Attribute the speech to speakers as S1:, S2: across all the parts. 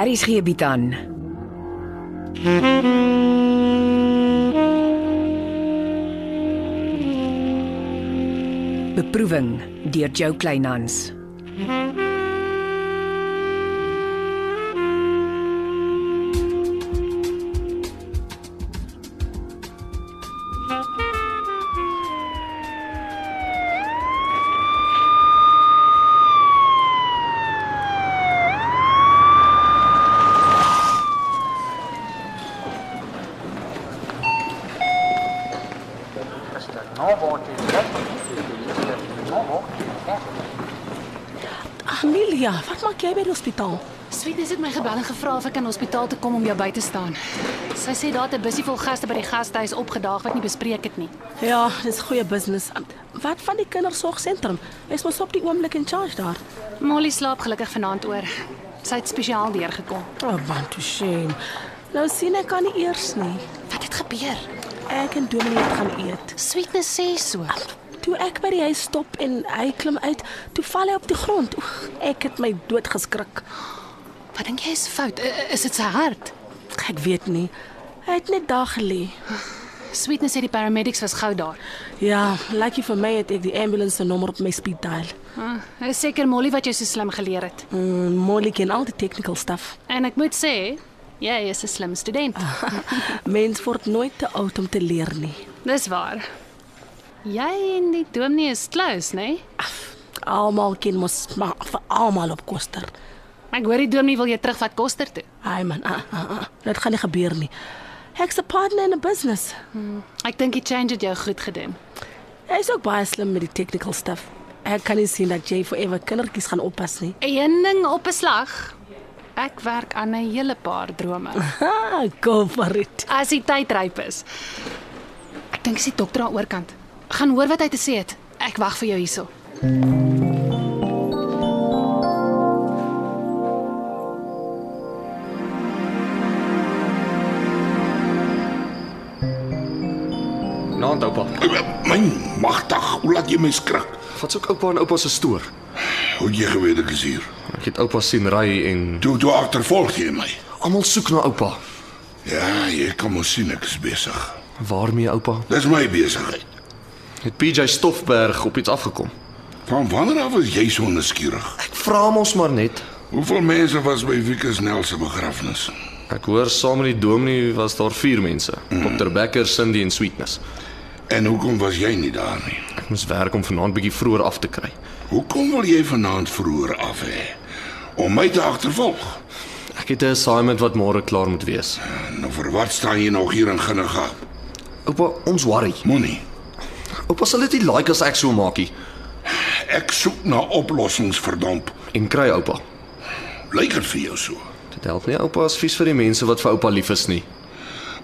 S1: Aries gee bied aan. Beproeving deur Jo Kleinhans.
S2: Mr. Novo is Mr. Novo is
S3: Amelia, wat maak jy by die hospitaal?
S4: Sweetness het my gebel en gevra of ek aan hospitaal toe kom om jou by te staan. Sy sê daar het 'n busie vol gaste by die gastehuis opgedaag wat nie bespreek het nie.
S3: Ja, dis goeie business. Wat van die kindersorgsentrum? Is mos op die oomblik in charge daar.
S4: Molly slaap gelukkig vanaand oor. Sy het spesiaal deurgekom.
S3: Oh, want to shame. Nou sien ek kan nie eers nie.
S4: Wat het gebeur?
S3: Ek en Dominee het gaan eet.
S4: Sweetness sê so.
S3: Toe ek by die huis stop en hy klim uit, toe val hy op die grond. Oeg, ek het my dood geskrik.
S4: Wat dink jy is fout? I- i- Is dit sy hart?
S3: Ek weet nie. Hy het net daar gelê.
S4: Sweetness sê die paramedics was gou daar.
S3: Ja, lucky vir my het ek die ambulance se nommer op my speed dial.
S4: Ah, Is seker Molly wat jou so slim geleer het.
S3: Mm, Molly ken al die technical stuff.
S4: En ek moet sê, jy is 'n slim student.
S3: Mens word nooit te oud om te leer nie.
S4: Dis waar. Jy en die dominee is close, né? Nee?
S3: af. Almal ken mos maar vir almal op koster.
S4: Ek hoor die dominee wil jou terugvat koster toe.
S3: Ai man, ah, ah, ah, dit gaan nie gebeur nie. Ek's 'n partner in 'n business.
S4: Ek dink die change het jou goed gedoen.
S3: Hy's ook baie slim met die technical stuff. Ek kan nie sien dat jy forever kindertjies gaan oppas nie.
S4: Een ding op 'n slag. Ek werk aan 'n hele paar drome.
S3: Ha, go for it.
S4: As die tyd ryp is. Ek dink is die dokter aan oorkant. Gaan hoor wat hy te sê het. Ek wag vir jou hierso.
S5: Naand oupa.
S6: My magtig, hoe laat jy my skrik?
S5: Wat soek oupa en oupa se stoor?
S6: Hoe het jy geweet ek is hier?
S5: Ek het oupa sien ry en
S6: Toe toe agtervolg jy my.
S5: almal soek na oupa.
S6: Ja, jy kan mos sien ek is besig.
S5: Waarmee oupa?
S6: Dis my besigheid.
S5: Het PJ Stoffberg op iets afgekom?
S6: Van wanneer af was jy so nuuskierig?
S5: Ek vra hom ons maar net.
S6: Hoeveel mense was by Wikus Nel se begrafnis?
S5: Ek hoor saam met die dominee was daar 4 mense. Mm. Dr Becker, Cindy en Sweetness.
S6: En hoekom was jy nie daar nie?
S5: Ek moes werk om vanaand bietjie vroeër af te kry.
S6: Hoekom wil jy vanaand vroeër af hê? Om my te agtervolg?
S5: Ek het 'n assignment wat môre klaar moet wees.
S6: Nou vir wat staan jy nog hier in Ginnegaap?
S5: Oupa, ons worry.
S6: Moenie.
S5: Oupa sal dit nie like as ek so maakie
S6: Ek soek na oplossings verdomp.
S5: en kry oupa.
S6: Lyk dit vir jou so?
S5: Dit help nie oupa as vies vir die mense wat vir oupa lief is nie.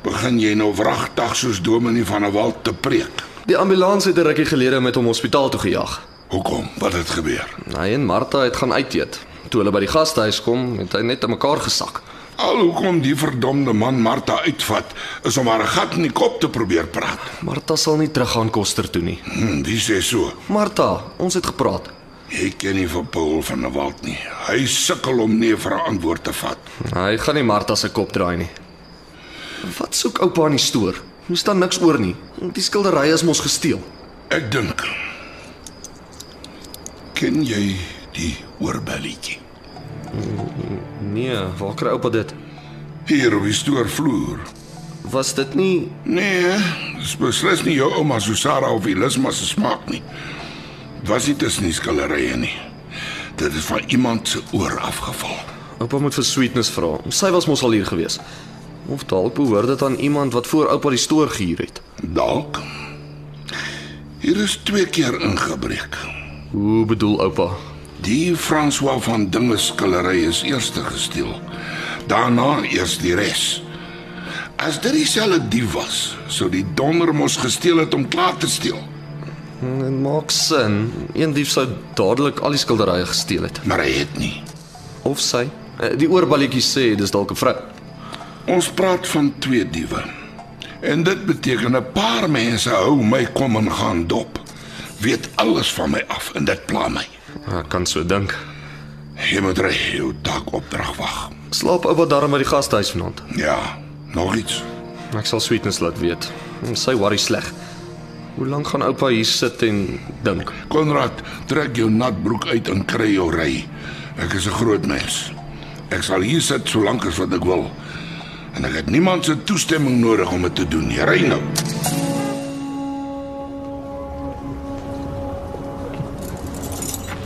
S6: Begin jy nou wragtig soos Dominee van der Walt te preek?
S5: Die ambulans het 'n rukkie gelede met hom hospitaal toe gejaag.
S6: Hoekom? Wat het gebeur?
S5: Hy en Martha het gaan uit eet. Toe hulle by die gastehuis kom, het hy net aan mekaar gesak.
S6: Al hoekom die verdomde man Martha uitvat, is om haar 'n gat in die kop te probeer praat.
S5: Martha sal nie teruggaan koster toe nie.
S6: Hm, wie sê so?
S5: Martha, ons het gepraat.
S6: Ek ken nie vir Paul van der Walt nie. Hy sukkel om nie vir 'n antwoord te vat.
S5: Hy gaan nie Martha se kop draai nie. Wat soek oupa in die stoor? Hoe staan niks oor nie. Die skilderye is mos gesteel.
S6: Ek dink. Ken jy die oorbelletjie?
S5: Nee, waar kry oupa dit?
S6: Hier op die stoorvloer.
S5: Was dit nie
S6: Nee, dis beslis nie jou ouma Susara of Ilisma se smaak nie. Was dit tussen die skillerye nie. Dit is van iemand se oor afgeval.
S5: oupa moet vir Sweetness vra. Sy was mos al hier gewees. Of dalk behoort dit aan iemand wat voor oupa die stoor gehuur het.
S6: Dalk. Hier is twee keer ingebreek.
S5: Hoe bedoel oupa?
S6: Die François van Dinge skillery is eers gesteel. Daarna eers die res. As dit dieselfde dief was, sou die donder mos gesteel het om klaar te steel.
S5: Dit maak sin. Een dief sou dadelik al die skilderye gesteel het.
S6: Maar hy het nie.
S5: Of sy. Eh, Die oorballetjie sê dis dalk 'n vrou.
S6: Ons praat van twee diewe. En dit beteken 'n paar mense hou my kom en gaan dop. Weet alles van my af en dit pla my.
S5: Ek kan so dink.
S6: Jy moet reg jou taak opdrag wag.
S5: Slaap ou wat daarom by die gastehuis vanaand.
S6: Ja, nog iets.
S5: Ek sal Sweetness laat weet. Sy worry sleg. Hoe lank gaan oupa hier sit en dink?
S6: Konrad, trek jou natbroek uit en kry jou ry. Ek is 'n groot mens. Ek sal hier sit solank as wat ek wil. En ek het niemand se toestemming nodig om dit te doen. nie. Ry nou.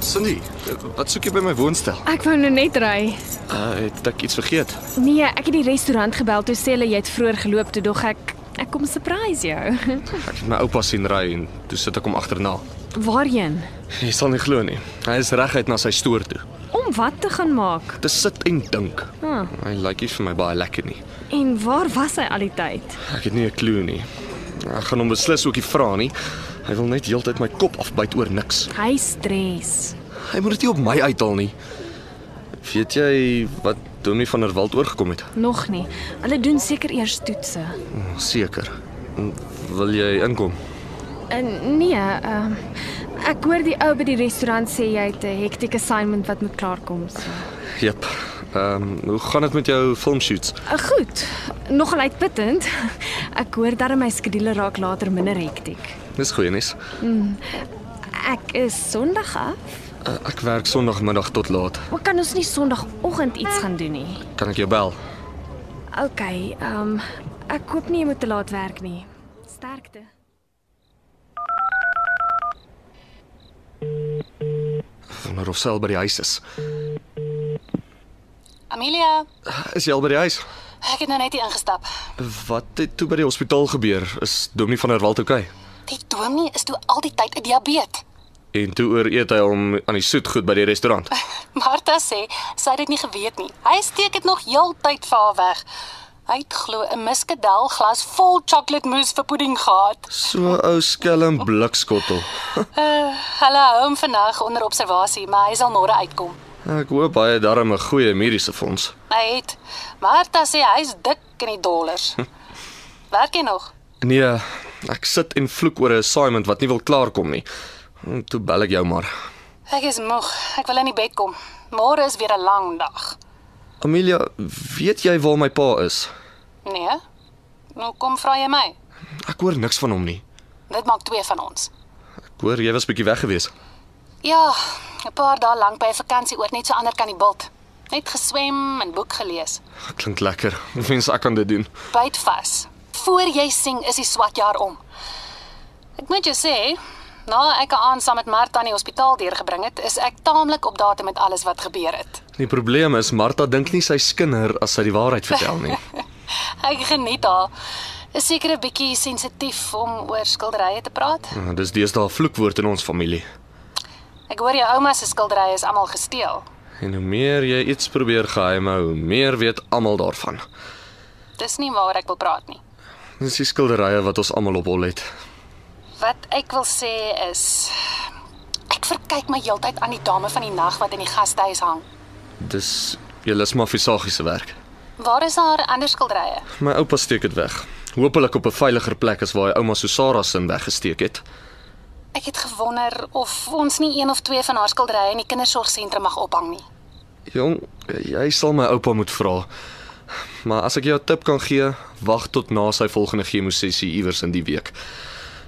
S5: Cindy, wat soek jy by my woonstel?
S7: Ek wou nou net ry.
S5: Uh, het ek iets vergeet?
S7: Nee, ek het die restaurant gebel toe sê hulle jy het vroeër geloop toe dog ek ek kom surprise jou.
S5: Ek het my oupa sien ry en toe sit ek hom agterna.
S7: Waarheen?
S5: Jy sal nie glo nie. Hy is reguit na sy stoor toe.
S7: Om wat te gaan maak?
S5: Te sit en dink.
S7: Ah.
S5: Hy lyk nie vir my baie lekker nie.
S7: En waar was hy al die tyd?
S5: Ek het nie 'n klou nie. Ek gaan hom beslis ook nie vra nie. Hy wil net heeltyd my kop afbyt oor niks.
S7: Hy stres.
S5: Hy moet dit nie op my uithaal nie. Weet jy wat Dominee van der Walt oorgekom het?
S7: Nog nie. Hulle doen seker eers toetse.
S5: Seker. Wil jy inkom?
S7: En nee, ehm ek hoor die ou by die restaurant sê jy het 'n hektiese assignment wat moet klaarkom. So.
S5: Jep. Ehm, um, hoe gaan dit met jou filmshoots?
S7: Uh, Goed, nogal uitputtend. Ek hoor dat my skedule raak later minder hektiek.
S5: Dis goeie nuus.
S7: Ek is Sondag af.
S5: Uh, ek werk Sondagmiddag tot laat.
S7: Hoe kan ons nie Sondagoggend iets gaan doen nie?
S5: Kan ek jou bel?
S7: OK, ehm um, ek koop nie jy moet te laat werk nie. Sterkte.
S5: Wonder of Sel by die huis is.
S4: Amelia,
S5: Eh, Is jy al by die huis?
S4: ek het nou net hier ingestap.
S5: Wat het toe by die hospitaal gebeur? Is Dominee van der Walt oukei? Okay?
S4: Die dominee is toe al die tyd 'n diabetes.
S5: En toe ooreet hy hom aan die soetgoed by die restaurant.
S4: Martha sê sy het dit nie geweet nie. Hy steek dit nog heeltyd vir haar weg. Hy het glo 'n muskadel glas vol chocolate mousse vir pudding gehad.
S5: So ou skelm blikskottel.
S4: Eh, Hulle hou hom vandag onder observasie, maar hy sal môre uitkom.
S5: Ek hoop hy het darm 'n goeie mediese fonds.
S4: Hy het Martha sê hy's dik in die dollars. Werk hy nog?
S5: Nee, ek sit en vloek oor 'n assignment wat nie wil klaarkom nie. En Toe bel ek jou maar.
S4: Ek is moeg. Ek wil in die bed kom. Môre is weer 'n lang dag.
S5: Amelia, weet jy waar my pa is?
S4: Nee. Nou kom vra jy my.
S5: Ek hoor niks van hom nie.
S4: Dit maak twee van ons.
S5: Ek hoor jy was bietjie weg gewees.
S4: Ja, 'n paar dae lank by 'n vakansie oor net so ander kan die bult. Net geswem en boek gelees.
S5: Klink lekker. Ek wens ek kan dit doen.
S4: Byt vas. Voor jy sien is die swat jaar om. Ek moet jou sê, na ek 'n aand saam met Martha in die hospitaal deurgebring het, is ek taamlik op datum met alles wat gebeur het.
S5: Die probleem is Martha dink nie sy skinder as sy die waarheid vertel nie.
S4: Ek geniet haar. Is seker 'n bietjie sensitief om oor skilderye te praat.
S5: Nou, Dis deesdae 'n vloekwoord in ons familie.
S4: Ek hoor jou ouma se skilderye is almal gesteel.
S5: En hoe meer jy iets probeer geheim hou, hoe meer weet almal daarvan.
S4: Dis nie waar ek wil praat nie.
S5: Dis die skilderye wat ons almal op hol het.
S4: Wat ek wil sê is ek verkyk my heeltyd aan die dame van die nag wat in die gastehuis hang.
S5: Dis Jelisma Visagie se werk.
S4: Waar is haar ander skilderye?
S5: My oupa steek dit weg. Hoopelik op 'n veiliger plek as waar hy ouma Susara sin weggesteek het.
S4: Ek het gewonder of ons nie een of twee van haar skilderye in die kindersorgsentrum mag ophang nie.
S5: Jong, jy sal my oupa moet vra. Maar as ek jou 'n tip kan gee, wag tot na sy volgende chemosessie iewers in die week.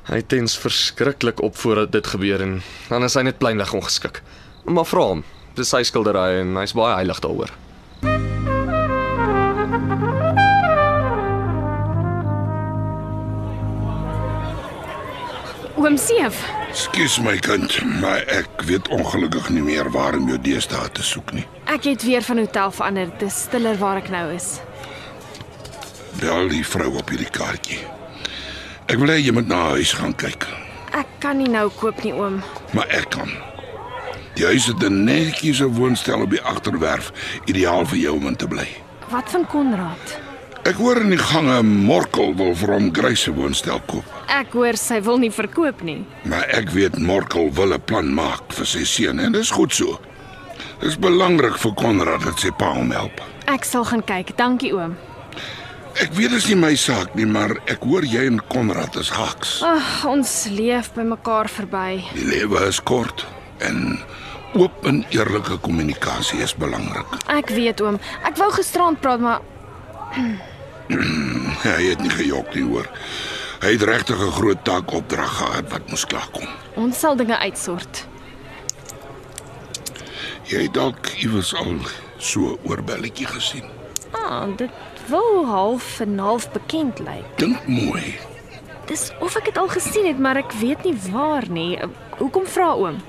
S5: Hy tens verskriklik op voordat dit gebeur en dan is hy net pleinweg ongeskik. Maar vra hom, dis sy skilderye en hy's baie heilig daaroor.
S7: Oom Seef,
S6: Skus my kind, maar ek weet ongelukkig nie meer waar om jou deesdae te soek nie.
S7: ek het weer van hotel verander. Dis stiller waar ek nou is.
S6: Bel die vrou op hierdie kaartjie. Ek wil hê jy moet na haar huis gaan kyk,
S7: Ek kan nie nou koop nie, oom.
S6: maar ek kan. Die huis het 'n netjiese woonstel op die agterwerf, ideaal vir jou om in te bly.
S7: Wat van Konrad?
S6: Ek hoor in die gange 'n Morkel wil vir hom Greyse woonstel koop.
S7: Ek hoor sy wil nie verkoop nie.
S6: Maar ek weet Morkel wil 'n plan maak vir sy seun en dis goed so. Dis belangrik vir Konrad dat sy pa hom help.
S7: Ek sal gaan kyk. Dankie, oom.
S6: Ek weet dis nie my saak nie, maar ek hoor jy en Konrad is haaks.
S7: Ag, ons leef by mekaar verby.
S6: Die lewe is kort en Oop en eerlike kommunikasie is belangrik.
S7: Ek weet oom, ek wou gisterand praat, maar
S6: Hy het nie gejok nie hoor. Hy het regtig 'n groot taak opdrag gehad wat moes klaarkom.
S7: ons sal dinge uitsort.
S6: Jy het dalk iewers al so oorbelletjie gesien.
S7: Ah, dit wou half en half bekend lyk.
S6: Dink mooi.
S7: Dis of ek dit al gesien het, maar ek weet nie waar nie. Hoekom vra oom?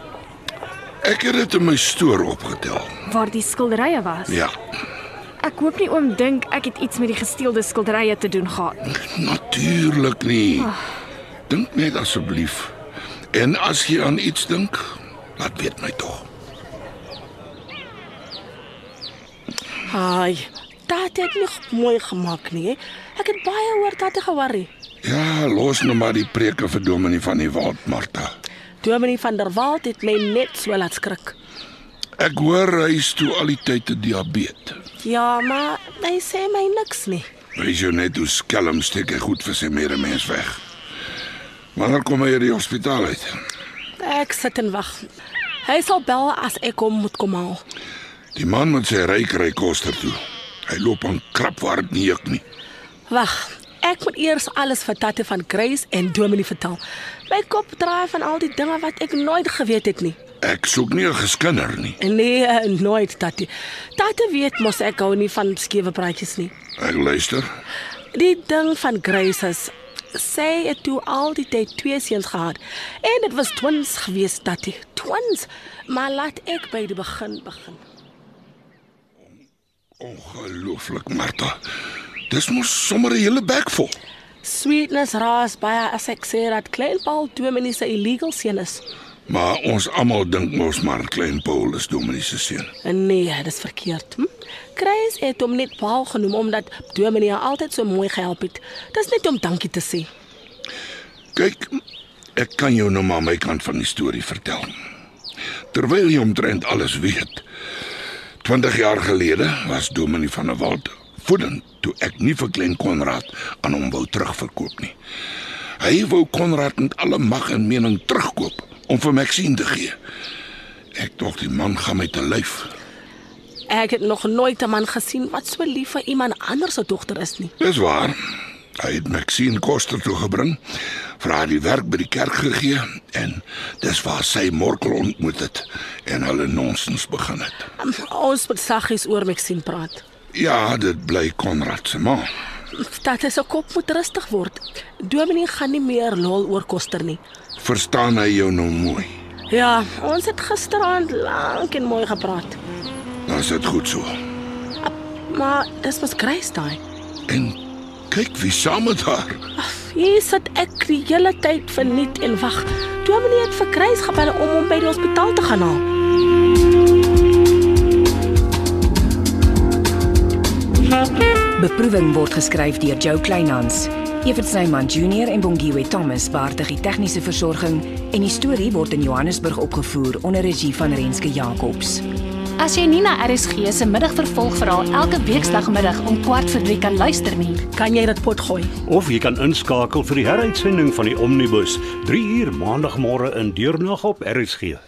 S6: Ek het dit in my stoor opgetel.
S7: Waar die skilderye was?
S6: Ja,
S7: Ek hoop nie oom dink ek het iets met die gesteelde skilderye te doen gehad nie.
S6: natuurlik nie. Dink net asseblief. En as jy aan iets dink, laat weet my tog.
S3: Ai, Tate het nie mooi gemaak nie. hè. Ek het baie oor Tate geworry.
S6: Ja, los nou maar die preke vir Dominee van die Wald, Martha.
S3: Dominee van der Walt het my net so laat skrik.
S6: Ek hoor hy is toe al die tyd te diabetes.
S3: Ja, maar hy sê my niks nie.
S6: Wys jou net hoe skelm steek hy goed vir sy medemens weg. Wanneer kom hy uit die hospitaal uit?
S3: Ek sit en wag. Hy sal bel as ek hom moet kom haal.
S6: Die man moet sy ryk ry koster toe. Hy loop aan krap waar dit nie juk nie.
S3: Wag, ek moet eers alles vir Tate van Grace en Dominee vertel. My kop draai van al die dinge wat ek nooit geweet het nie.
S6: Ek soek nie 'n geskinder nie.
S3: Nee, eh, nooit Tate. Tate weet mos ek hou nie van skewe praatjies nie.
S6: Ek luister.
S3: Die ding van Grace is sy het toe al die tyd twee seuns gehad en dit was twins gewees Tate. Twins. Maar laat ek by die begin begin.
S6: Ongelooflik, Martha. Dis mos sommer 'n hele bek vol.
S3: Sweetness raas baie as ek sê dat Klein Paul Dominee se illegal seun is.
S6: Maar ons almal dink mos maar klein Paul is Dominee se seun.
S3: Nee, dis verkeerd. Hm? Grace het hom net Paul genoem omdat Dominee haar altyd so mooi gehelp het. Dis net om dankie te sê.
S6: Kyk, ek kan jou nou maar my kant van die storie vertel. Terwyl jy omtrent alles weet. 20 jaar gelede was Dominee van der Walt voedend toe ek nie vir klein Konrad aan hom wou terugverkoop nie. Hy wou Konrad met alle mag en mening terugkoop om vir Maxine te gee. Ek dink die man gaan my te lyf.
S3: Ek het nog nooit 'n man gesien wat so lief vir iemand anders se dogter is nie.
S6: Dis waar. Hy het Maxine Koster toe gebring, vir haar die werk by die kerk gegee en dis waar sy Morkel ontmoet het en hulle nonsens begin het.
S3: Um, Ons moet saggies oor Maxine praat.
S6: Ja, dit bly Konrad se ma.
S3: Dat hy se kop moet rustig word. Dominee gaan nie meer lol oor koster nie.
S6: Verstaan hy jou nou mooi?
S3: Ja, ons het gisteraand lank en mooi gepraat.
S6: Dan is dit goed so.
S3: Maar dis mos Grace daai.
S6: En kyk wie saam met haar.
S3: Hier sit ek die hele tyd verniet en wag. Dominee het vir Grace gebel om hom by die hospitaal te gaan haal.
S1: Beproeving word geskryf deur Jo Kleinhans. Evert Snyman Junior en Bongwe Thomas baartig die tegniese versorging en die storie word in Johannesburg opgevoer onder regie van Renske Jacobs.
S4: As jy Nina RSG se middagvervolgverhaal elke weekdagmiddag om 14:15 kan luister nie,
S3: Kan jy dit pot gooi?
S8: Of jy kan inskakel vir die heruitsending van die Omnibus 3 uur maandagmôre in deernag op RSG.